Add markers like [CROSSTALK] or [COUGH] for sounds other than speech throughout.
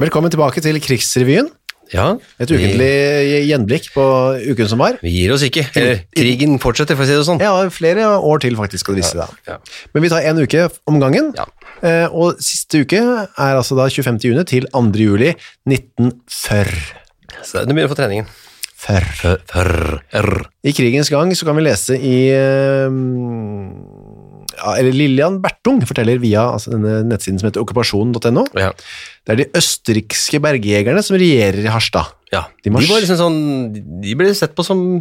Velkommen tilbake til Krigsrevyen. Ja, Et ukentlig gjenblikk på uken som var. Vi gir oss ikke. Eller, krigen fortsetter, for å si det sånn. Ja, flere år til faktisk skal det vise deg. Ja. Men vi tar en uke om gangen, Ja. Eh, og siste uke er altså da 25. juni til 2. juli 1940. Så du begynner å få treningen. Før. Før, før. I krigens gang så kan vi lese i eh, ja, eller Lillian Bertung forteller via altså denne nettsiden som heter okkupasjonen.no. Ja. Det er de østerrikske bergjegerne som regjerer i Harstad. ja. De De, mars- var liksom sånn De ble sett på som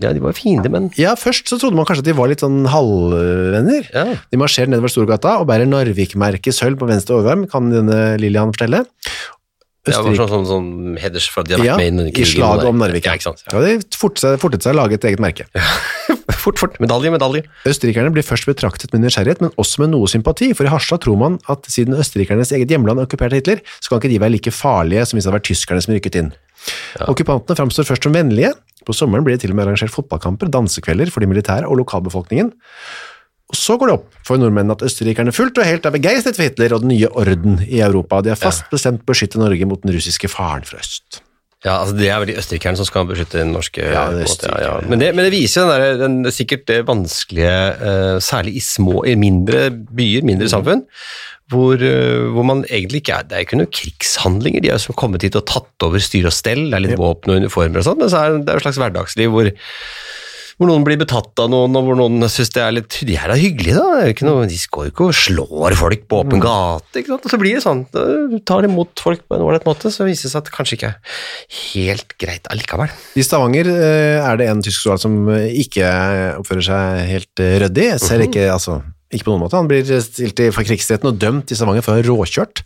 Ja, de var fiender, men Ja, Først så trodde man kanskje at de var litt sånn halvvenner. ja. De marsjerer nedover Storgata og bærer Narvik-merket sølv på venstre overarm, kan denne Lillian fortelle. Det var Østerrike- sånn, sånn, sånn heders for at de har vært Ja, med i den i krigen. slaget der. om Narvik. Ja, ikke sant. Ja. Ja, de fortet seg, fortet seg å lage et eget merke. Fort, fort. Medalje, medalje. Østerrikerne blir først betraktet med nysgjerrighet, men også med noe sympati, for i Harstad tror man at siden østerrikernes eget hjemland okkuperte Hitler, så kan ikke de være like farlige som hvis det hadde vært tyskerne som rykket inn. Okkupantene framstår først som vennlige. På sommeren blir det til og med arrangert fotballkamper, dansekvelder for de militære og lokalbefolkningen. Og så går det opp for nordmennene at østerrikerne fullt og helt er begeistret for Hitler og den nye orden i Europa, og de er fast bestemt på å beskytte Norge mot den russiske faren fra øst. Ja, altså Det er vel de østerrikerne som skal beskytte den norske Ja, det er på en måte, ja, østerrikerne. ja. Men, det, men det viser jo den, der, den det er sikkert det vanskelige, eh, særlig i små, i mindre byer, Mm. mindre samfunn, hvor, eh, hvor man egentlig ikke er Det er ikke noen krigshandlinger. De er jo som kommet hit og tatt over styr og stell, det er litt våpen og uniformer og sånn, men så er det- det er jo et slags hverdagsliv hvor hvor noen blir betatt av noen, og hvor noen syns det er litt De her er hyggelige, da. Det er jo ikke noe, de går jo ikke og slår folk på Mm. åpen gate. ikke sant? Og så blir det sånn. da Tar de imot folk på en ålreit måte, så viser det seg at det kanskje ikke er helt greit allikevel. I Stavanger eh, er det en tysk soldat som eh, ikke oppfører seg helt eh, ryddig. Jeg Ser ikke, altså, ikke på noen måte. Han blir eh, stilt i- for krigsretten og dømt i Stavanger for å ha råkjørt.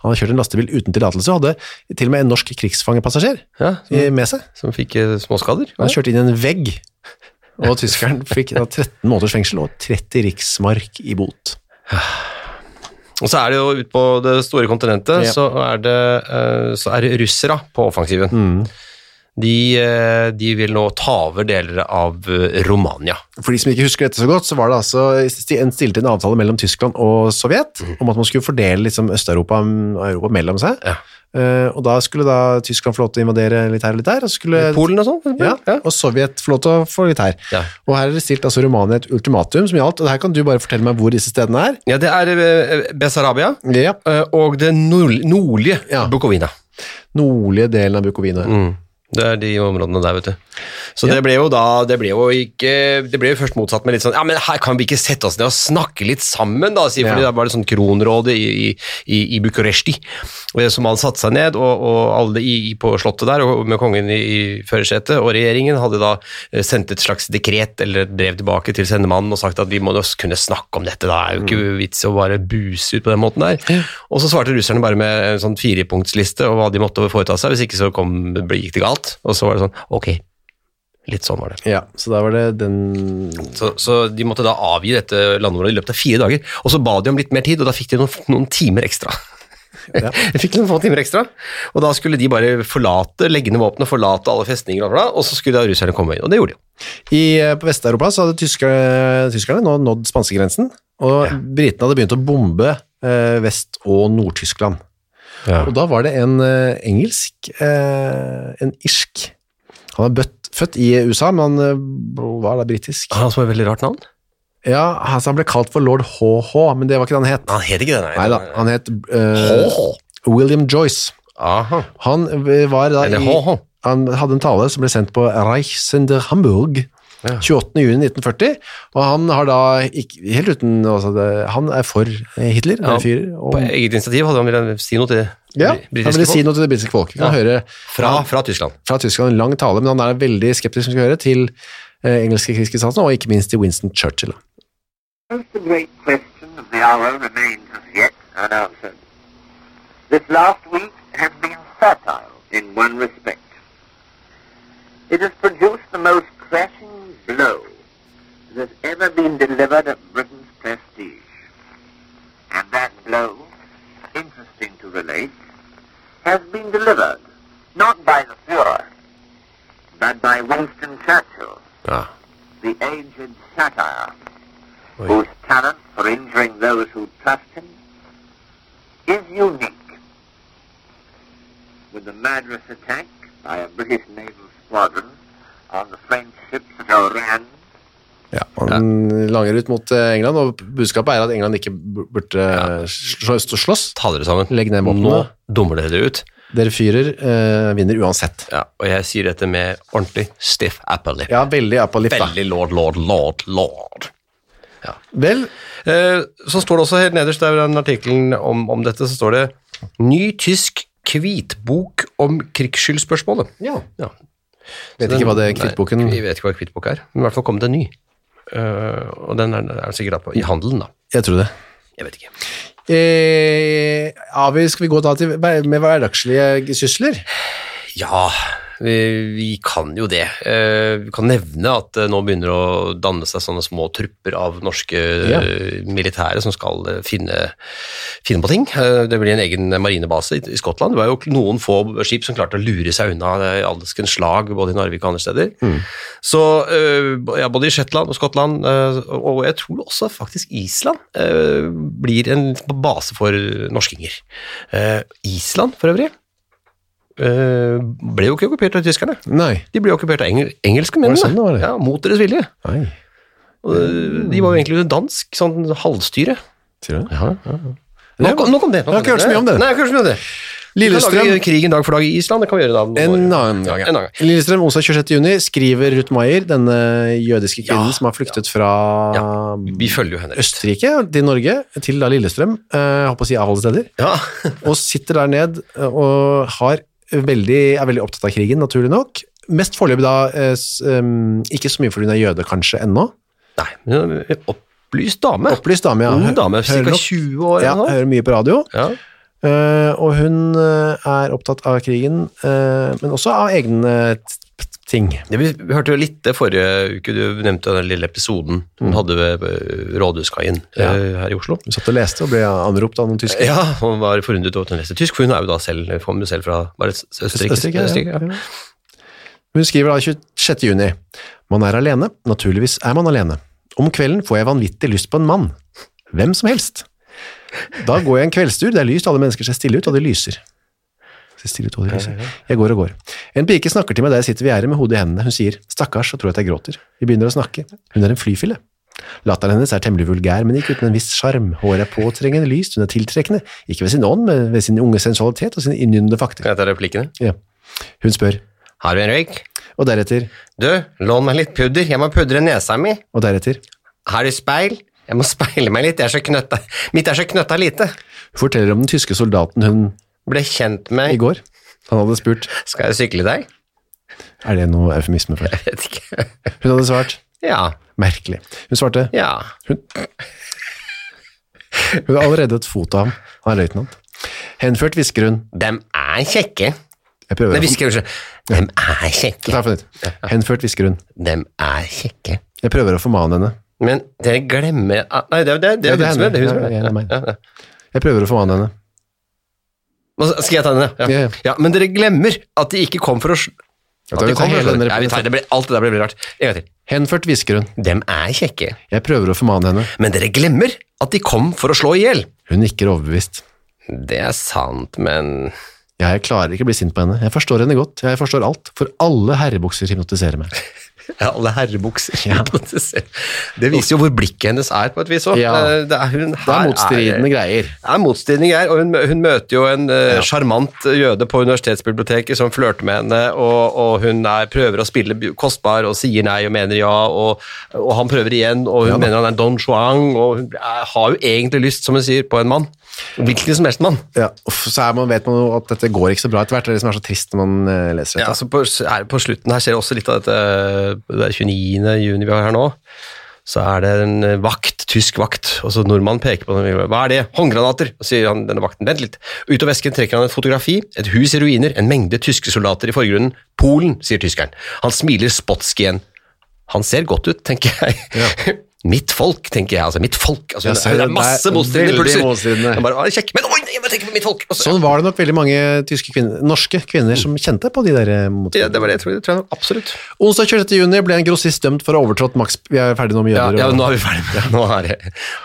Han har kjørt en lastebil uten tillatelse og hadde til og med en norsk krigsfangepassasjer Ja, som, i- med seg. som fikk eh, småskader. Han kjørte inn i en vegg, og tyskeren fikk da 13 måneders fengsel og 30 riksmark i bot. Og så er det jo ute på det store kontinentet, Ja. så, er det, eh, så er det russere på offensiven. Mm. De, eh, de vil nå ta over deler av eh, Romania. For de som ikke husker dette så godt, så var det altså sti- en stilte en avtale mellom Tyskland og Sovjet om at man skulle fordele liksom Øst-Europa og Europa mellom seg. Mhm. Ja. Eh, og da skulle da Tyskland få lov til å invadere litt her og litt der, og, så skulle, Polen og sånn? for ja, eksempel? Ja. og Sovjet få lov til å få litt her. Ja. Og her er det stilt altså Romania et ultimatum som gjaldt, og her kan du bare fortelle meg hvor disse stedene er. ja, det er eh, Bessarabia. Ja. Eh, og det nord nordlige Ja. Bukovina. Nordlige delen av Bukovina. Mm. Det er de områdene der, vet du. Så det ble jo da Det ble jo ikke Det ble jo først motsatt med litt sånn Ja, men her kan vi ikke sette oss ned og snakke litt sammen, da, sier fordi Ja. da var det sånn kronrådet i, i, i, i Bucuresti eh, som hadde satt seg ned, og, og alle i, i på slottet der, og med kongen i, i førersetet, og regjeringen hadde da eh, sendt et slags dekret eller et brev tilbake til sendemannen og sagt at vi må da kunne snakke om dette, da er jo ikke vits å bare buse ut på den måten der. Og så svarte russerne bare med en sånn firepunktsliste og hva de måtte foreta seg, hvis ikke så kom, ble- gikk det galt. Og så var det sånn, ok, litt sånn var det. Ja, så da var det den Så, så de måtte da avgi dette landområdet i løpet av fire dager, og så ba de om litt mer tid, og da fikk de noen, noen timer ekstra. [LAUGHS] Ja. Jeg fikk noen få timer ekstra, og da skulle de bare forlate, legge ned våpenet, forlate alle festninger, og, bla, bla, og så skulle da russerne komme inn, og det gjorde de jo. I, eh, på Vest-Europa så hadde tyskerne, tyskerne nå nådd spanskegrensen, og britene hadde begynt å bombe eh, Vest- og Nord-Tyskland. Og da var det en eh, engelsk, eh, en irsk. Han var bøtt, født i USA, men han eh, var da britisk. Han som har et veldig rart navn. Ja, altså han ble kalt for lord HH, men det var ikke det han het. Han heter ikke det, nei. Nei da, han het eh, William Joyce. Aha. Han eh, var da Eller i- HH. han hadde en tale som ble sendt på Reichsender Hamburg Ja. 28. juni 1940, og han har da ikke, helt uten, altså det, han er for eh, Hitler, Ja, han er fyrer, og På eget initiativ hadde han villet si noe til ja, bri- han ville britiske si folk noe til det britiske folk. Vi kan Ja. høre fra, fra Tyskland. fra Tyskland en lang tale, men han er veldig skeptisk som vi skal høre, til eh, engelske krigskristallene, og ikke minst til Winston Churchill. Most of the great question of the hour remains as yet unanswered. This last week has been fertile in one respect. It has produced the most crashing blow that has ever been delivered at Britain's prestige. And that blow, interesting to relate, has been delivered not by the Fuhrer, but by Winston Churchill, Ja. the aged satire, Oi. whose talent for injuring those who trust him is unique. With a murderous attack by a British naval squadron on the French ships at Oran, Ja, han langer ut mot eh, England, og budskapet er at England ikke bur- burde eh, slå- slå- slåss. Ta dere sammen. Legg ned våpenet. Nå dummer dere ut. Dere fyrer, eh, vinner uansett. Ja, og jeg sier dette med ordentlig stiff apple lip. Ja, veldig apolift da. Veldig lord, lord, lord, lord. Vel, Eh, så står det også helt nederst der i den artikkelen om, om dette, så står det Ny tysk hvitbok om krigsskyldspørsmålet. ja. Ja. Vet Den- ikke hva det nei, kvittboken... Vi vet ikke hva kvittbok er, men i hvert fall kommet en ny. Eh, og den er, er sikkert på, i handelen, da. Jeg tror det. Jeg vet ikke. Eh, ja, vi skal vi gå da til hver- med hverdagslige sysler? Ja, vi, vi kan jo det. Eh, Vi kan nevne at det nå begynner å danne seg sånne små trupper av norske Ja. eh, militære som skal eh, finne, finne på ting. Eh, Det blir en egen marinebase i, i Skottland. Det var jo noen få skip som klarte å lure seg unna eh, alderskens slag, både i Narvik og andre steder. Så eh, ja, både i Shetland og Skottland, eh, og jeg tror også faktisk Island, eh, blir en base for norskinger. Eh, Island, for øvrig eh, ble jo ikke okkupert av tyskerne. Nei. De ble okkupert av engel engelske Var menn, det sånn det var, Mm. det? Ja, mot deres vilje. Nei, Og, eh, de var jo egentlig under dansk sånn halvstyre. sier du det? Nok, nok om det. Nok Jeg har ikke hørt så mye om det. Nei, jeg har ikke hørt så mye om det. Vi kan Lillestrøm, lage krigen dag for dag i Island, det kan vi gjøre da. om en noen år. annen gang. En annen gang. Lillestrøm, onsdag 26. juni, skriver Ruth Meier, denne jødiske kvinnen som har flyktet fra Vi følger jo henne. Østerrike til Norge, til da Lillestrøm, eh, jeg håper å si av alle steder, Ja. og sitter der ned eh, og har veldig, er veldig opptatt av krigen, naturlig nok. Mest foreløpig da, eh, s- em, ikke så mye fordi hun er jøde kanskje ennå. Nei, men en opplyst dame. Opplyst dame, ja. Ung dame, Hører ca. nok- 20 år Ja, eller noe. hører mye på radio. Ja. Eh, og hun eh, er opptatt av krigen, eh, men også av egne t- t- ting. Ja, vi vi hørte jo litt det forrige uke, du nevnte den lille episoden hun hadde ved eh, Rådhuskaien Mm. Ja. eh, her i Oslo. Hun satt og leste og ble anropt av noen tyskere. Ja, [LAUGHS] hun var forundret over at hun leste tysk, for hun er jo da selv, kommer jo selv fra var det Østerrike. Østerrike, Østerrike, ja. ja. Hun skriver da 26. juni. Man er alene, naturligvis er man alene. Om kvelden får jeg vanvittig lyst på en mann. Hvem som helst. Da går jeg en kveldstur, det er lyst, alle mennesker ser stille ut, og de lyser. Ser stille ut, og de lyser. Jeg går og går. En pike snakker til meg der jeg sitter ved gjerdet med hodet i hendene. Hun sier, stakkars, og tror at jeg gråter. Vi begynner å snakke. Hun er en flyfille. Latteren hennes er temmelig vulgær, men ikke uten en viss sjarm. Håret er påtrengende lyst, hun er tiltrekkende. Ikke ved sin ånd, men ved sin unge sensualitet og sine inngyndende fakter. Kan jeg ta replikkene? Ja. Hun spør, Har du en røyk? og deretter, Du, lån meg litt pudder, jeg må pudre nesa mi. og deretter. Har du speil? Jeg må speile meg litt, jeg er så knøtta. mitt er så knøtta lite. Hun forteller om den tyske soldaten hun Ble kjent i med, går. Han hadde spurt, skal jeg sykle deg? [LAUGHS] er det noe eufemisme for? Jeg vet ikke. Hun hadde svart, Ja, merkelig. Hun svarte, ja. hun hadde allerede et fot av ham. Han er løytnant. Henført hvisker hun, Dem er kjekke. jeg prøver Nei, å... hvisker du ikke. Dem er kjekke. Ta for nytt. Henført hvisker hun, Dem er kjekke. jeg prøver å formane henne. Men dere glemmer at- Nei, det er det, det, Ja, er det hun som er- det. er hun som hender. Ja, ja, det er meg. er- Ja, ja. Jeg prøver å formane henne. Og så- Skal jeg ta den, ja. Ja, ja. ja. ja men dere glemmer at de ikke kom for å sl- Ja, At da vil de vi ta kom for å hele slå den deg. Nei, vi tar- det blir- Alt det der blir veldig rart. En gang til. Henført hvisker hun, Dem er kjekke, jeg prøver å formane henne. men dere glemmer at de kom for å slå i hjel. Hun nikker overbevist. Det er sant, men [LAUGHS] Ja, jeg klarer ikke å bli sint på henne. Jeg forstår henne godt, jeg forstår alt, for alle herrebukser hypnotiserer meg. ja, alle herrebukser [LAUGHS] Det viser jo hvor blikket hennes er, på et vis òg. Ja. Det er, hun, Det her er motstridende er- greier. Det er motstridende greier, og hun, hun møter jo en eh, sjarmant jøde på universitetsbiblioteket som flørter med henne, og, og hun er, prøver å spille bu- kostbar og sier nei og mener ja, og, og han prøver igjen, og hun mener han er Don Juan, og hun er, har jo egentlig lyst, som hun sier, på en mann. Hvilken som helst mann. Ja, uff, så er man, vet man jo at dette går ikke så bra etter hvert. Det er det som er så trist når man eh, leser Ja, dette. altså på, her, på slutten her ser du også litt av dette det er 29. juni vi har her nå. så er det en eh, vakt, tysk vakt, og så nordmannen peker på den, hva er det? Håndgranater, og sier han denne vakten, vent litt. Ut av vesken trekker han et fotografi, et hus i ruiner, en mengde tyske soldater i forgrunnen. Polen, sier tyskeren. Han smiler spotsk igjen. Han ser godt ut, tenker jeg. [LAUGHS] Mitt folk, tenker jeg. altså Mitt folk. altså Jeg det, ser er- det det. er masse Det er motstridende veldig impulser. motstridende. Jeg bare, «Å, kjekk, men oi, jeg må tenke på mitt folk. Og så, Sånn var det nok veldig mange tyske kvinner, norske kvinner som kjente på de der motstandene. ja, det var det jeg tror, det tror jeg absolutt. Onsdag 26. juni ble en grossist dømt for å ha overtrådt maks... Vi er ferdig nå med Ja, jøder. ja, og- nå er vi ferdig med det. [LAUGHS] Nå er det,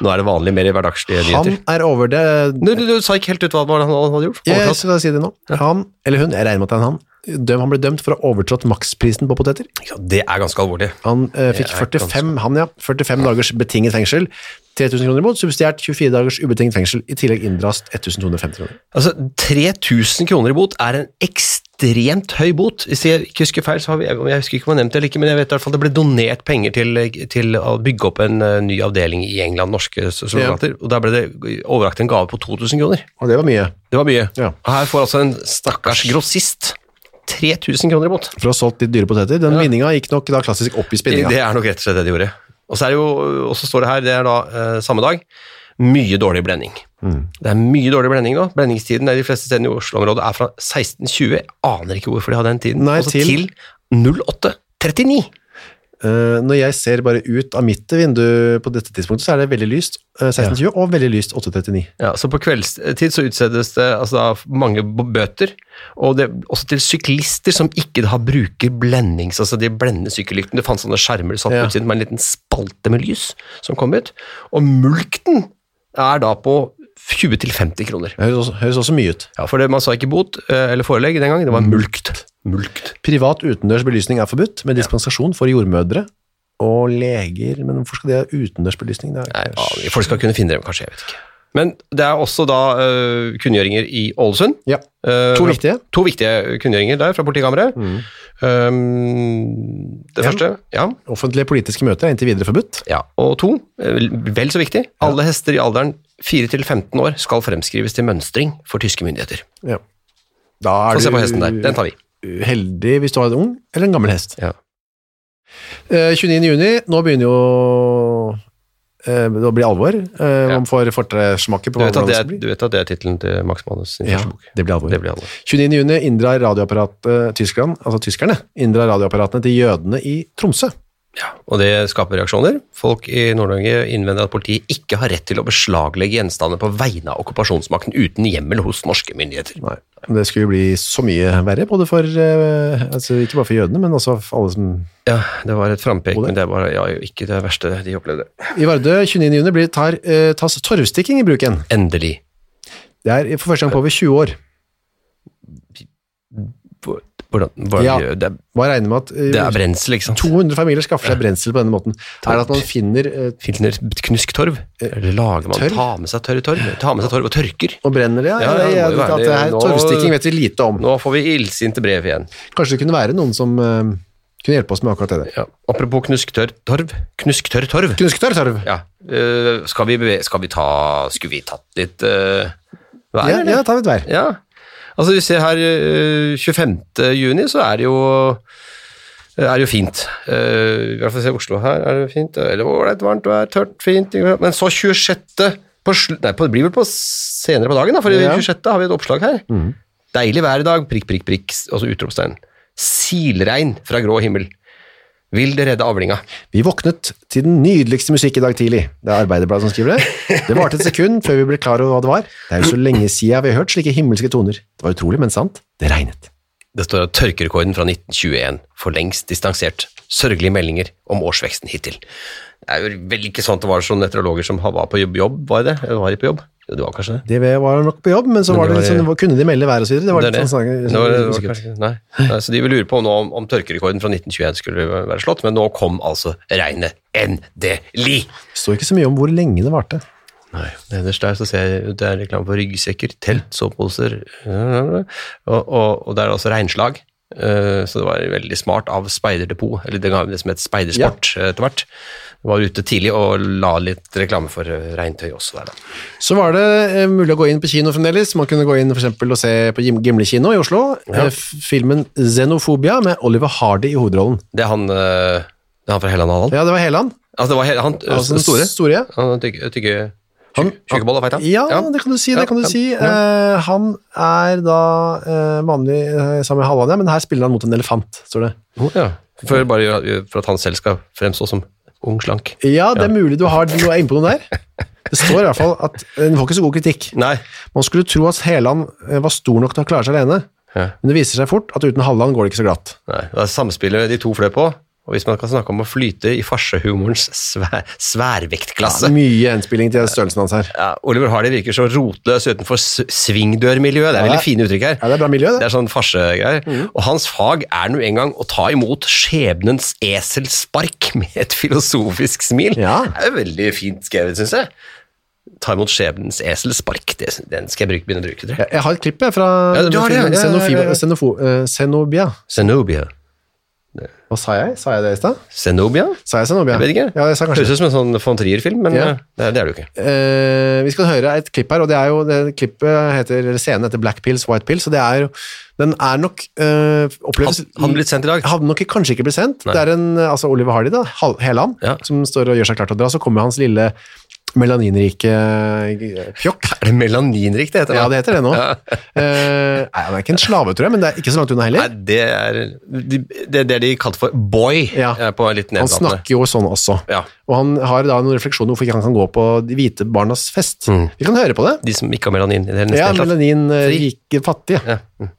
nå er det vanlig mer i hverdagslige han nyheter. er over det... Du, du, du sa ikke helt ut hva det var han hadde gjort. Jeg Overtatt. skal si det nå. Han, eller hun, jeg regner med at det er en han, døm, han ble dømt for å ha overtrådt maksprisen på poteter. Ja, Det er ganske alvorlig. Han eh, fikk Det er 45, han, ja, 45 dagers betinget fengsel, 3000 kroner imot, subsidiert 24 dagers ubetinget fengsel, i tillegg inndrast 1250 kroner. Altså, 3000 kroner i bot er en ekstremt høy bot. Hvis jeg ikke husker feil, så har vi, jeg, jeg husker ikke om jeg nevnte det eller ikke, men jeg vet i hvert fall det ble donert penger til, til å bygge opp en eh, ny avdeling i England, norske s- soldater, og der ble det overrakt en gave på 2000 kroner. Og det var mye. Det var mye. Ja. Og her får altså en stakkars grossist 3000 kroner i bot. For å ha solgt litt dyre poteter. Den vinninga gikk nok da klassisk opp i spinninga. Det er nok rett og slett det de gjorde. Og så er det jo, og så står det her, det er da eh, samme dag, mye dårlig blending. Mm. Det er mye dårlig blending nå. Blendingstiden er de fleste stedene i Oslo-området er fra 1620, jeg aner ikke hvorfor de har den tiden, Nei, og så til- til 08.39. Eh, når jeg ser bare ut av mitt vindu på dette tidspunktet, så er det veldig lyst eh, 1620 og veldig lyst 839. Ja, så på kveldstid så utsettes det altså da, mange b- bøter, og det, også til syklister som ikke da bruker blendings, altså de blender sykkellyktene. Det fantes sånne skjermer satt Ja. på utsiden med en liten spalte med lys som kom ut, og mulkten er da på 20-50 kroner. Det høres også, høres også mye ut. Ja, for det, man sa ikke bot eh, eller forelegg den gangen, det var mulkt. Mulkt. Privat utendørs belysning er forbudt, med dispensasjon for jordmødre og leger. Men hvorfor skal de ha utendørs belysning? Det Nei, er, ja, folk skal kunne finne dem, kanskje, jeg vet ikke. Men det er også da eh, kunngjøringer i Ålesund. ja. Eh, To viktige. To viktige kunngjøringer der fra politikammeret. Um, det Ja. første, ja. Offentlige politiske møter er inntil videre forbudt. ja. Og to, eh, vel så viktig, alle hester i alderen 4 til 15 år skal fremskrives til mønstring for tyske myndigheter. Ja. Da er Få se du på hesten der, den tar vi. heldig hvis du har en ung eller en gammel hest. Ja. Eh, 29. juni, nå begynner jo eh, det å bli alvor. Eh, Ja. Man får fortresmaket Du på vet at hvordan det det er, skal bli. du vet at det er tittelen til Max Manus sin Ja, første bok. det blir alvor. Det blir alvor. 29. juni inndrar radioapparatet Tyskland, altså tyskerne, inndrar radioapparatene til jødene i Tromsø. Ja, og det skaper reaksjoner. Folk i Nord-Norge innvender at politiet ikke har rett til å beslaglegge gjenstander på vegne av okkupasjonsmakten uten hjemmel hos norske myndigheter. Nei, men det skulle jo bli så mye verre, både for, eh, altså ikke bare for jødene, men også for alle som... Ja, det var et frampek, men det var ja, jo ikke det verste de opplevde. I Vardø, 29. juni, blir, tar, eh, tas torvstikking i bruk igjen. Endelig. Det er for første gang på over 20 år. Hvor- Hvordan, hvordan Ja. gjør- det, er- Bare regner med at eh, det er brensel, ikke sant? 200 familier skaffer seg brensel på denne måten. Er det at man finner eh, Finner knusk torv? Eller lager man tørr? Ta med seg tørr torv? Ta med seg torv og tørker? og brenner det? Ja, Ja, ja, ja, det må jo være at det. det her, Nå- torvstikking vet vi lite om. Nå får vi illsinte brev igjen. Kanskje det kunne være noen som eh, kunne hjelpe oss med akkurat det der. Ja. Apropos knusktørr torv. Knusktørr torv. Kunsktørr torv. Ja. eh, skal, vi beve skal vi ta Skulle vi tatt litt eh, vær, Ja, eller? ja, ta litt vær. Ja. Altså, vi ser her eh, 25. juni, så er det jo er det jo fint. Eh, I hvert fall se Oslo her, er det fint. Eller ålreit, varmt vær, tørt, fint. Men så 26. På slu, nei, på, det blir vel på senere på dagen, da, for Ja. 26. har vi et oppslag her. Deilig vær i dag, prikk, prikk, prikk, altså utropstegn. Silregn fra grå himmel. Vil det redde avlinga? Vi våknet til den nydeligste musikk i dag tidlig. Det er Arbeiderbladet som skriver det. Det varte et sekund før vi ble klar over hva det var. Det er jo så lenge siden vi har hørt slike himmelske toner. Det var utrolig, men sant. Det regnet. Det står at tørkerekorden fra 1921 for lengst distansert. Sørgelige meldinger om årsveksten hittil. Det er jo vel ikke sånn at det var sånn meteorologer som var på jobb, jobb var det? Eller var de på jobb? Jo, det var kanskje det. Det var nok på jobb, men så Men var det det litt var- sånn, kunne de melde vær og så videre. Det var Det er litt det. sånn sånn- Nå er det- det var usikkert. kanskje- nei. Nei, så de vil lure på nå om, om tørkerekorden fra 1921 skulle være slått, men nå kom altså regnet Det endelig! står ikke så mye om hvor lenge det varte. Nei, nederst der så ser jeg jo det er reklame for ryggsekker, telt, soveposer og, og, og det er også regnslag. Eh, Så det var veldig smart av Speiderdepot, eller det ga det som het Speidersport eh, etter hvert. Var ute tidlig og la litt reklame for eh, regntøy også der, da. Så var det eh, mulig å gå inn på kino fremdeles. Man kunne gå inn for eksempel og se på Gim- Gimle kino i Oslo. Eh, f- Filmen Xenophobia med Oliver Hardy i hovedrollen. Det er han, eh, det er han fra Helland Halland. Ja, det var Heland. Altså, det var he- han øh, Altså, den store? store ja. Han tygge, tygge Han- Tyggeball, feit han? Ja, det kan du si. Det Ja, kan du ja, si. ja. Eh, han er da eh, mannlig eh, sammen med Halvania, men her spiller han mot en elefant, står det. Å, ja. For, bare gjøre- for at han selv skal fremstå som ung, slank. Ja, det er mulig du, har, du er inne på noe der. Det står i hvert fall at eh, den får ikke så god kritikk. Nei. Man skulle tro at Heland eh, var stor nok til å klare seg alene, Ja. men det viser seg fort at uten Halland går det ikke så glatt. Nei. Det er samspillet de to fløy på. Og hvis man kan snakke om å flyte i farsehumorens svær, sværvektklasse Mye enspilling til størrelsen hans her. ja, Oliver Hardy virker så rotløs utenfor s- svingdørmiljøet. Det er Ja. veldig fine uttrykk her. Ja, det er bra miljø, Det det. Mm. er sånn farsegreier. Og hans fag er nå engang å ta imot skjebnens eselspark med et filosofisk smil. Ja. Det er jo veldig fint skrevet, syns jeg. Ta imot skjebnens eselspark. Det, den skal jeg bruke, begynne å bruke, tror jeg. Jeg jeg har et klipp jeg, fra Ja, du har det, ja, filmen ja, ja, ja, ja. Xenofo- Xenofo- eh, Xenobia. Zenobia. Hva sa jeg? Sa jeg det i stad? Zenobia? Sa jeg Xenobia? Jeg vet ikke. Ja, jeg sa kanskje Høres ut som en sånn von Trier-film, men Ja. eh, det, det er det jo ikke. Eh, vi skal høre et klipp her, og det er jo det klippet heter, eller scenen heter Black Pills, White Pills, og det er jo, den er nok eh, oppleves... Hadde han blitt sendt i dag? Hadde nok kanskje ikke blitt sendt. Nei. Det er en, eh, altså Oliver Hardy da, Hal- Heland, Ja. som står og gjør seg klart til å dra, så kommer hans lille melaninrike eh, pjokk. Er det melaninrikt det heter? Ja, da? det heter det nå. [LAUGHS] Ja. Eh, nei, han er ikke en slave, tror jeg, men det er ikke så langt unna Nei, heller. det er de- det, er det de kalte for boy. Ja. eh, På litt Han nedlatende. snakker jo sånn også. Ja. Og han har da noen refleksjoner om hvorfor ikke han kan gå på de hvite barnas fest. Vi kan høre på det. De som ikke har melanin. i Mm. Det hele Ja, tatt. melanin eh, Fri. rike fattige. Ja. Mm.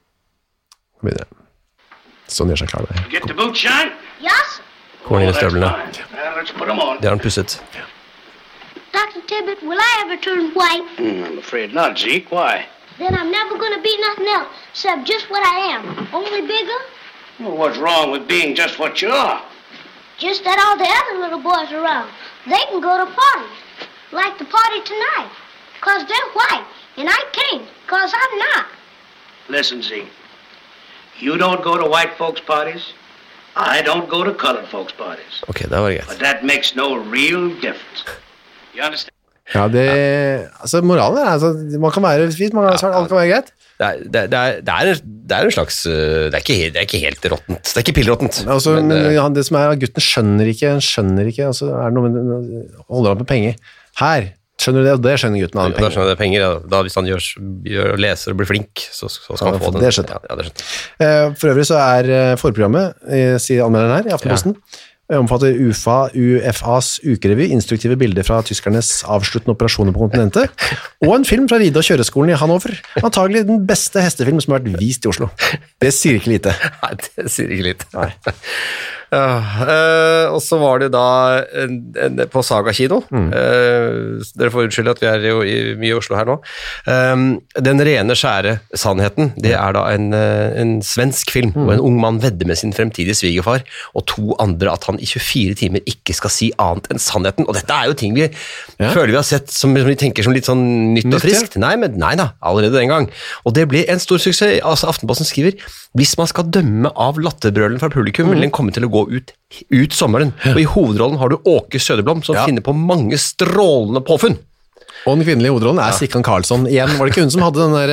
Nå begynner jeg. Sånn gjør seg klar det. Get the boots, John? Yes, Kommer inn i That's støvlene. fine. Now let's put 'em on. Det har han pusset. Dr. Tibbet, will I ever turn white? Hmm, I'm afraid not, Zeke. Why? Then I'm never going to be nothing else except just what I am. Only bigger, Well, what's wrong with being just what you are? just that all the other little boys around, they can go to parties, like the party tonight, because they're white, and I can't, because I'm not. Listen, Zeke. You don't go to white folks' parties. I don't go to colored folks' parties. Ok, det var greit. But that makes no real difference. You understand? Ja, det, altså moralen er altså, man kan være hvit, man kan være svart, alt kan være greit. Det er, det, er- det, er, det, er, en- det er en slags øh, Det er ikke, he- det er ikke helt råttent. Det er ikke pillråttent. Men Altså, men, øh, ja, det som er at gutten skjønner ikke, han skjønner ikke, altså er det noe med, holder han på penger. Her, skjønner du det, og det skjønner gutten, han har da penger. skjønner jeg det er penger. ja. Da, hvis han gjør, gjør og leser og blir flink, så, så skal han Ja, få den. det skjønte jeg. Ja, det skjønte Eh, jeg. For øvrig så er eh, forprogrammet, eh, sier anmelderen her i Aftenposten, eh, omfatter UFA, UFAs ukerevy, instruktive bilder fra tyskernes avsluttende operasjoner på kontinentet, og en film fra Ride- og kjøreskolen i Hannover, antagelig den beste hestefilm som har vært vist i Oslo. Det sier ikke lite. [LAUGHS] Nei, det sier ikke litt. [LAUGHS] Ja, øh, og så var det da en, en, på Saga kino. Øh, dere får unnskylde at vi er jo i, mye i Oslo her nå. Ehm, den rene, skjære sannheten, det er da en, øh, en svensk film hvor en ung mann vedder med sin fremtidige svigerfar og to andre at han i 24 timer ikke skal si annet enn sannheten. Og dette er jo ting vi føler vi har sett som, som vi tenker som litt sånn nytt, Nytt, og friskt. Nei, men nei da, allerede den gang. Og det ble en stor suksess. Altså, Aftenposten skriver hvis man skal dømme av latterbrølen fra Mhm. publikum, vil den komme til å gå ut, ut sommeren. Og i hovedrollen har du Åke Søderblom, som Ja. finner på mange strålende påfunn. Og den kvinnelige hovedrollen er Sikkan Karlsson igjen. Var det ikke hun som hadde den der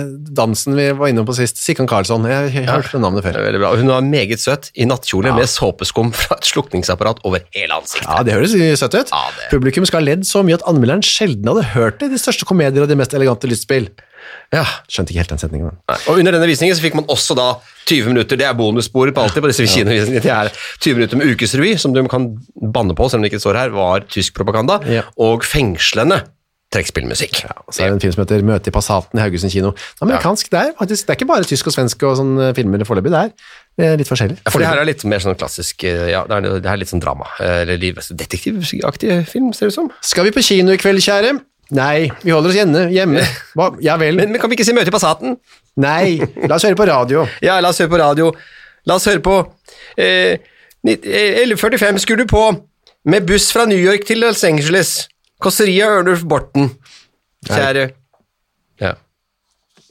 eh, dansen vi var inne på sist? Sikkan Karlsson, jeg har hørt det navnet Det før. er Veldig bra. Hun var meget søt i nattkjole med såpeskum fra et slukningsapparat over hele ansiktet. Ja, det høres søtt ut. Ja, det- Publikum skal ha ledd så mye at anmelderen sjelden hadde hørt det i de største komedier og de mest elegante lystspill. Ja. Skjønte ikke helt den setningen. men. Og under denne visningen så fikk man også da 20 minutter, det er bonussporet på alltid på disse kinovisningene, det er 20 minutter med ukesrevy, som du kan banne på, selv om det ikke står her, var tysk propaganda, Ja. altså, og fengslende trekkspillmusikk. Og Så er det en film som heter Møte i Passaten i Haugesund kino. Det er Amerikansk, det er faktisk, det er ikke bare tysk og svensk og sånne filmer foreløpig, det er det er litt forskjellig. Ja, for det her er litt mer sånn klassisk, eh, ja, det er, det er litt sånn drama, eh, eller liv- detektivaktig film, ser det ut som. Skal vi på kino i kveld, kjære? Nei, vi holder oss hjemme. hjemme. Hva? Ja vel. Men, men kan vi ikke si møte i Passaten? Nei, la oss høre på radio. Ja, la oss høre på radio. La oss høre på eh, nitt- eh, 11.45 skulle du på med buss fra New York til Los Angeles. Kåsseria Ørnulf Borten. Kjære ja.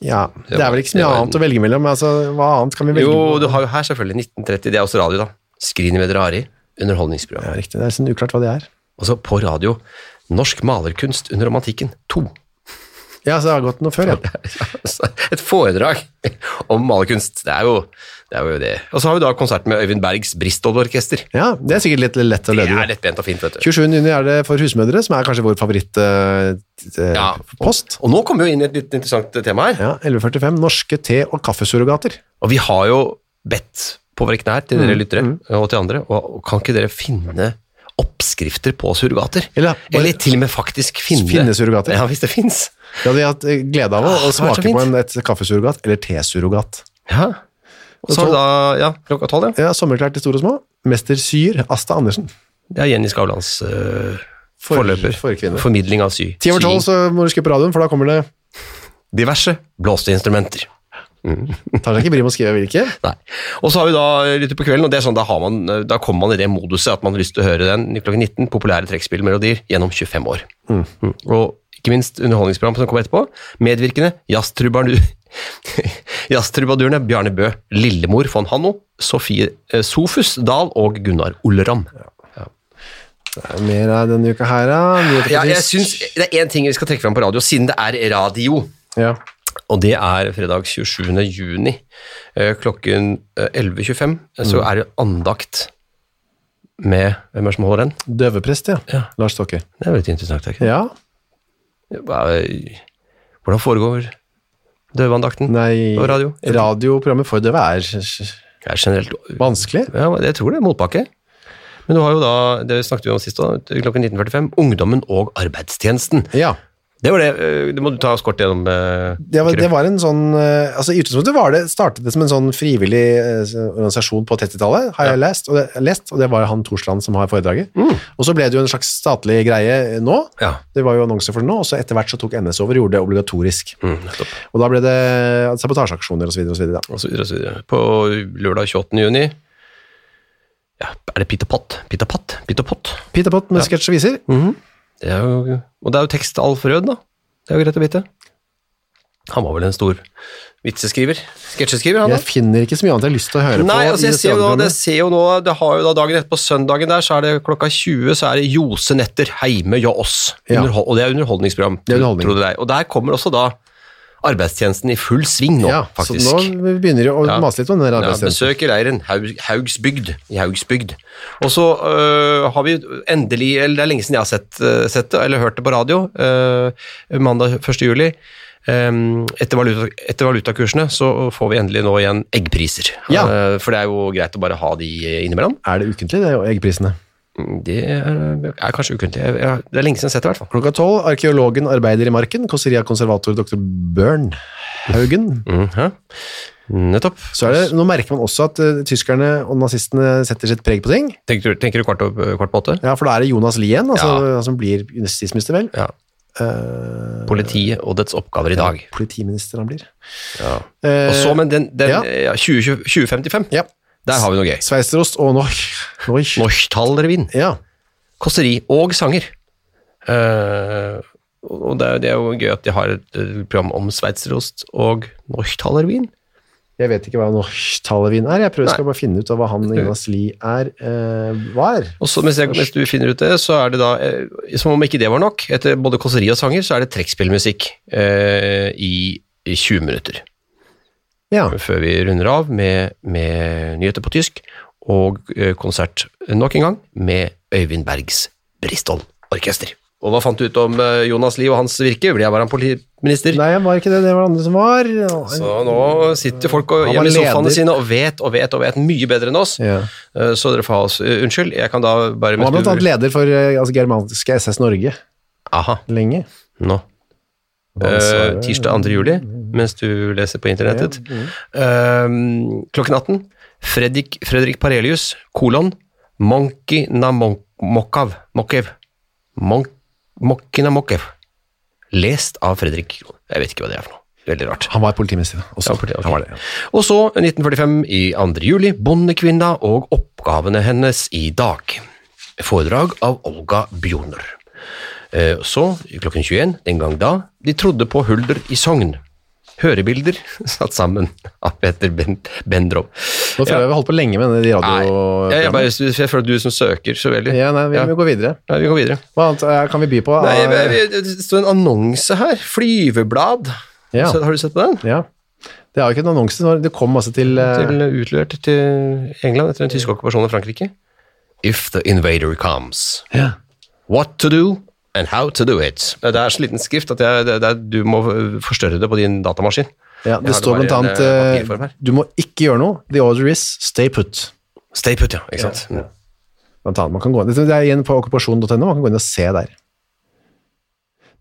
Ja, det er vel ikke så Det mye var- annet å velge mellom. men Altså, hva annet kan vi velge? Jo, du har jo her selvfølgelig 1930, det er også radio, da. Skrinet med Drari, underholdningsprogram. Ja, riktig. Det er sånn uklart hva det er. Og så på radio, Norsk malerkunst under romantikken [LAUGHS] 2. Ja, så det har gått noe før, ja. Altså, Et foredrag om malerkunst. Det er jo, det Det er jo det. Og så har vi da konsert med Øyvind Bergs Bristol-orkester. Ja, det er sikkert litt lett og Det lødig. er lettbent og fint, vet du. 27. juni er det for husmødre, som er kanskje vår favorittpost. Eh, Ja. post. Og nå kommer vi jo inn i et litt interessant tema her. ja, 11.45. Norske te- og kaffesurrogater. Og vi har jo bedt på våre knær til Mm, dere lyttere og til andre, og og kan ikke dere finne oppskrifter på surrogater? Eller bare- Eller til og med faktisk finne Finne surrogater? Ja, hvis det fins. Det hadde vi hatt eh, glede av å, Ah, å det var så smake fint. på en, et kaffesurrogat eller tesurrogat. Ja. Og så er det da ja, klokka tolv, ja. Ja, sommerklær til store og små. Mester Syr, Asta Andersen. Det er Jenny Skavlans øh, For- forløper. for kvinner. Formidling av sy. Ti over tolv så må du skru på radioen, for da kommer det Sying. Diverse blåste instrumenter. Tar seg ikke bry med å skrive hvilke. [LAUGHS] Nei. Og så har vi da eh, litt på kvelden, og det er sånn, da, har man, eh, da kommer man i det moduset at man har lyst til å høre den i klokken 19, populære trekkspillmelodier gjennom 25 år. Mm. Og ikke minst underholdningsprogram som kommer etterpå. Medvirkende [LAUGHS] jazztrubadu- jazztrubadurene Bjarne Bø, Lillemor von Hanno, Sofie eh, Sofus Dahl og Gunnar Olleram. Mer av denne uka her, da. Nyheter på Ja, jeg fisk. synes Det er én ting vi skal trekke fram på radio, siden det er radio. ja. Og det er fredag 27. juni eh, klokken eh, 11.25. Så Mm. er det andakt med Hvem er det som holder den? Døveprest, ja. Ja. Lars Stokke. Det er veldig interessant. Ikke? Ja. Hva- Hvordan foregår døveandakten Nei på radio? Radioprogrammet for døve er s- s- Det er generelt vanskelig. ja, men Jeg tror det er motbakke. Men du har jo da, det snakket vi om sist, da, klokken 19.45, Ungdommen og arbeidstjenesten. Ja. Det var det. eh, Det må du ta oss kort gjennom. eh, Det var, Kyrre. det var en sånn eh, altså I utgangspunktet var det, startet det som en sånn frivillig eh, organisasjon på 30-tallet, har jeg lest og, det, lest, og det var han Torsland som har foredraget. Mm. Og så ble det jo en slags statlig greie nå. Ja. Det var jo annonser for det nå, og så etter hvert så tok NS over og gjorde det obligatorisk. Mm, nettopp. Og da ble det sabotasjeaksjoner osv. videre og så videre og så videre. På lørdag 28. juni ja, er det Pitt og Pott? Pitt og Pott? Pitt og Pott? Pita Pott med sketsj og viser. Mm. Det er jo, og det er jo tekst til Alf Rød, da. Det er jo greit å vite. Han var vel en stor vitseskriver? Sketsjeskriver, han da? Jeg finner ikke så mye annet jeg har lyst til å høre på. Nei, altså i dette jeg ser jo nå, det radioprogrammet. ser jo nå, det har jo da dagen etterpå søndagen der, så er det klokka 20, så er det Josenetter heime hjå oss. Ja. Underhol- Og det er underholdningsprogram, Det er underholdning. tror du det er. Og der kommer også da arbeidstjenesten i full sving nå, ja, faktisk. Så nå begynner det å Ja. mase litt om den der Ja, arbeidstjenesten. besøker leiren Haug, Haugsbygd i Haugsbygd. Og så øh, har vi endelig, eller det er lenge siden jeg har sett, øh, sett det, eller hørt det på radio, øh, mandag 1. juli. ehm, etter, valuta, etter valutakursene så får vi endelig nå igjen eggpriser. Ja. Eh, for det er jo greit å bare ha de innimellom. Er det ukentlig, det, eggprisene? Det er, er kanskje ukentlig. Jeg- jeg- Det er lenge siden jeg har sett det, i hvert fall. Klokka tolv, arkeologen arbeider i marken, kåseria konservator dr. Børn Haugen. Mhm. Nettopp. Så er det, nå merker man også at eh, tyskerne og nazistene setter sitt preg på ting. Tenker, du- tenker du kvart, opp- kvart på åtte? Ja, For da er det Jonas Lien, altså, Ja. han som blir justisminister, vel. Ja. Eh, Politiet og dets oppgaver i dag. politiminister han blir. Ja. Eh, Og så, men den, den ja. ja. 20, 2055, ja. der har vi noe gøy. Sveisterost og Norch. Norch. Norsktalrevyen, Ja. kåseri og sanger. Eh, og det er, det er jo gøy at de har et eh, program om sveitserost og norsktalervin. Jeg vet ikke hva Norch-talevin er. Jeg prøver skal bare finne ut av hva han Jonas Lie er. eh, var. Og så mens, jeg, mens du finner ut det, så er det da, eh, som om ikke det var nok, etter både kåseri og sanger, så er det trekkspillmusikk eh, i, i 20 minutter. Ja. Før vi runder av med, med nyheter på tysk og eh, konsert nok en gang med Øyvind Bergs Bristol Orkester. Og hva fant du ut om eh, Jonas Lie og hans virke? Ble jeg bare en politiminister? Nei, han var ikke det. Det var det andre som var. Så nå sitter folk og, Han var hjemme i sofaene leder. sine og vet og vet og vet mye bedre enn oss. Ja. Eh, Så dere får ha oss eh, Unnskyld, jeg kan da bare Han var blant annet leder for eh, altså, germanske SS Norge Aha, lenge. nå. Hva sa Eh, jeg? tirsdag 2. juli, mens du leser på internettet. Mm. Eh, klokken 18. Fredrik, Fredrik Parelius, kolon, Monki na mon- Mokav, Mokev. Mon- Monki na Mokev. Lest av Fredrik. Jeg vet ikke hva det er for noe. Veldig rart. Han var politimester også. Ja, politi- ok. Han var det, ja. Og så 1945 i 2. juli, Bondekvinna og oppgavene hennes i dag. Foredrag av Olga Bjoner. Eh, Så, klokken 21, den gang da, de trodde på Hulder i Sogn. Hørebilder [LAUGHS] satt sammen av Peter ben Bendrov. Nå føler jeg vi har holdt på lenge med de Nei, jeg, jeg, radioprogrammene. bare, jeg føler du som søker så veldig. Ja, nei, vi, Ja. vi går videre. Nei, vi går videre. Hva annet eh, kan vi by på? Nei, eh, Ah, men, det står en annonse her. Flyveblad. Ja. Har du sett på den? Ja. Det er jo ikke en annonse, det var- det kom masse til, eh, til utlevert til England etter den tyske okkupasjonen av Frankrike. If the invader comes, ja. what to do and how to do it. Det er så liten skrift at jeg, det, det, er- du må forstørre det på din datamaskin. Ja, Jeg det har står bare blant en, annet eh, eh, papirform her. Du må ikke gjøre noe. The order is stay put. Stay put, ja. Ikke sant? Blant annet, man kan gå inn. Det er igjen på okkupasjon.no, man kan gå inn og se der.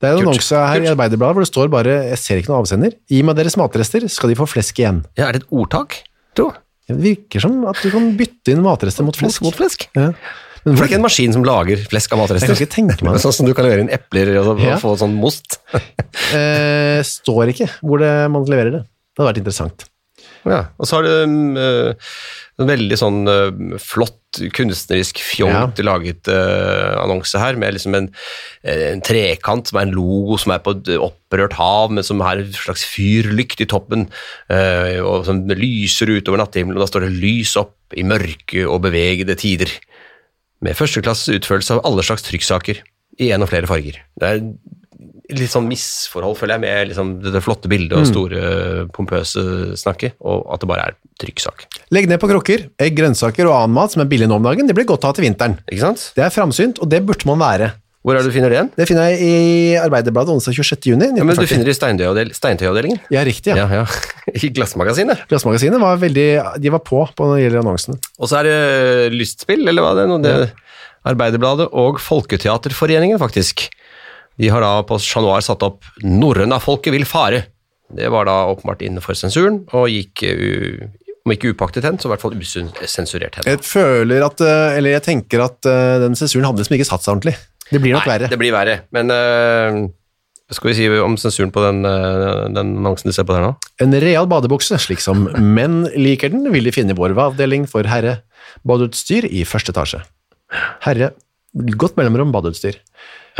Det er en Kult. annonse her i Kult. Arbeiderbladet hvor det står bare Jeg ser ikke noen avsender. Gi meg deres matrester, skal de få flesk igjen. Ja, er det et ordtak? Tro. Ja, Det virker som at du kan bytte inn matrester mot flesk. Mot flesk. Ja. Men For det hvor, er ikke en maskin som lager flesk av matrester. Jeg kan ikke tenke [LAUGHS] meg det. Sånn som du kan levere inn epler og, så, Ja. og få sånn most. eh, står ikke hvor det, man leverer det. Det hadde vært interessant. Ja, og så har det um, eh, en veldig sånn eh, flott kunstnerisk fjongt laget eh, annonse her, med liksom en, eh, en trekant som er en logo som er på et opprørt hav, men som har en slags fyrlykt i toppen, eh, og som lyser utover natthimmelen, og da står det 'lys opp i mørke og bevegede tider', med førsteklasses utførelse av alle slags trykksaker, i én og flere farger. Det er litt sånn misforhold, føler jeg, med liksom det det flotte bildet og store, pompøse snakket, og at det bare er trykksak. Legg ned på krukker. Egg, grønnsaker og annen mat som er billig nå om dagen, det blir godt å ha til vinteren. Ikke sant? Det er framsynt, og det burde man være. Hvor er det du finner det igjen? Det finner jeg i Arbeiderbladet onsdag 26. juni. Ja, men du 1940. finner det i steintøyavdel- steintøyavdelingen. Ja, riktig. Ja. Ja, [LAUGHS] ja. I Glassmagasinet. Glassmagasinet var veldig De var på på når det gjelder annonsene. Og så er det eh, Lystspill, eller hva det er nå? Det, Arbeiderbladet og Folketeaterforeningen, faktisk. De har da på Chat Noir satt opp 'Norrøna folket vil fare'. Det var da åpenbart innenfor sensuren, og gikk, uh, om ikke upaktet hen, så i hvert fall usensurert hen. Jeg føler at eh, Eller jeg tenker at eh, den sensuren hadde liksom ikke satt seg ordentlig. Det blir nok Nei, verre. [LAUGHS] det blir verre. Men øh, skal vi si om sensuren på den, øh, den annonsen du ser på der nå? En real badebukse, slik som menn liker den, vil de finne i vår avdeling for herre badeutstyr i første etasje. Herre, godt mellomrom badeutstyr.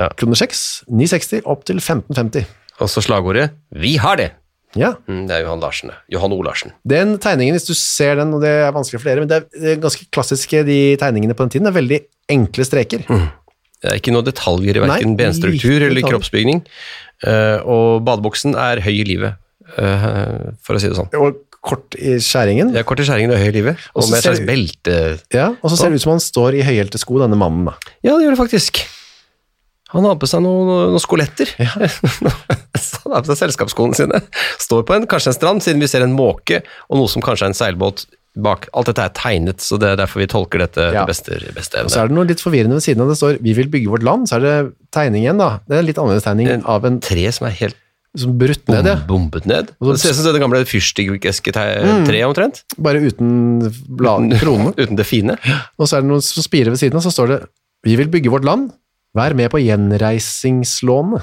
Ja. Kroner 6, 960 opp til 1550. Og så slagordet 'Vi har det'. Ja, Mm, Det er Johan Larsen. det. Johan O. Larsen. den tegningen, hvis du ser den, og det er vanskelig for dere, men det er- det er ganske klassiske de tegningene på den tiden, det er veldig enkle streker. Mm. Det er ikke noen detaljer i Nei, verken benstruktur lite eller detaljer. kroppsbygning. Eh, og badebuksen er høy i livet, eh, for å si det sånn. Og kort i skjæringen. Det Ja. er kort i skjæringen og høy i livet, Og og så med et ser slags det- belte. og så ser det ut som han står i høyhjelte sko, denne mannen da. Ja, det gjør det faktisk. Han har på seg noen, noen skoletter. [LAUGHS] Så han har på seg selskapsskoene sine. Står på en, kanskje en strand, siden vi ser en måke og noe som kanskje er en seilbåt bak. Alt dette er tegnet, så det er derfor vi tolker dette Ja. til beste, beste Og så evne. er det noe litt forvirrende ved siden av det står, vi vil bygge vårt land, så er det tegning igjen da. Det er en litt annerledes tegning En- av en Tre som er helt som brutt bom, ned, ja. bombet ned. Og så- Mm. Det ser ut som det gamle fyrstikkeske-treet omtrent. bare uten blad, kronene. Uten det fine. Og så er det noen som spirer ved siden av, så står det «Vi vil bygge vårt land, vær med på gjenreisingslånet».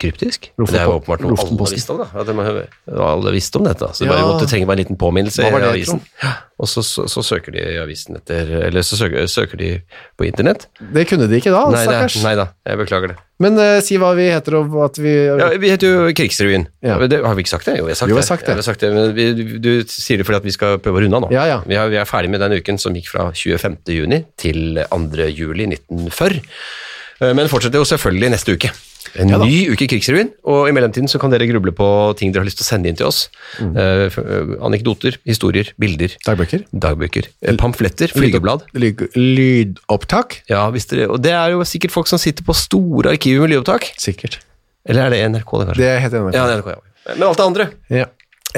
Kryptisk. Men Det er jo åpenbart noe alle Loftenposten. visste om, da. At de, alle visste om dette. da. Så det Ja. bare måtte trenge bare en liten påminnelse Hva i var det, avisen. Og så, så, så søker de i avisen etter Eller så søker, søker de på internett. Det kunne de ikke da, Nei, det, stakkars. nei da, jeg beklager det. Men eh, si hva vi heter og at vi... Ja, vi heter jo Krigsrevyen. Ja. Men Det, har vi ikke sagt det? Jo, vi har sagt, Jo, vi har sagt det. Ja, vi har sagt det. Men vi, du sier det fordi at vi skal prøve å runde av nå. Ja, ja. Vi, har, vi er ferdig med den uken som gikk fra 25. juni til 2. juli 1940. Eh, Men fortsetter jo selvfølgelig neste uke. En Ja da. ny uke i Krigsrevyen, og i mellomtiden så kan dere gruble på ting dere har lyst til å sende inn til oss. Eh, f- eh, anekdoter, historier, bilder, Mm. Dagbøker. dagbøker, eh, pamfletter, flygeblad. Lyd, lydopptak. Ja, hvis dere, og det er jo sikkert folk som sitter på store arkiver med lydopptak. Sikkert. Eller er det NRK, det, kanskje? Det heter jeg Ja, det er NRK, ja. Men alt det andre Ja.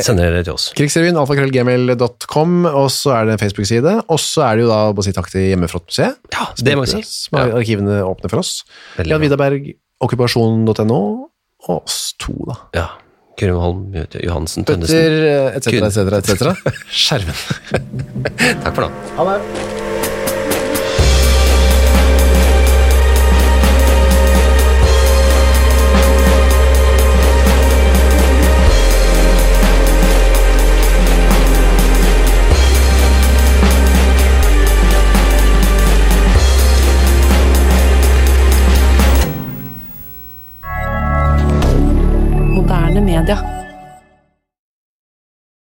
sender dere til oss. Krigsrevyen, alfakrøllgmail.com, og så er det en Facebook-side, og så er det jo da å si takk til Hjemmefrottmuseet. Ja, det må jeg si. Som har arkivene åpne for oss. Veldig Jan bra. Vidaberg, okkupasjon.no, og oss to da. Ja. Kyrre Holm, Johansen, Tønnesen. Etter, eh, et cetera, et cetera, et [LAUGHS] cetera. Skjermen. Takk for nå. Moderne media.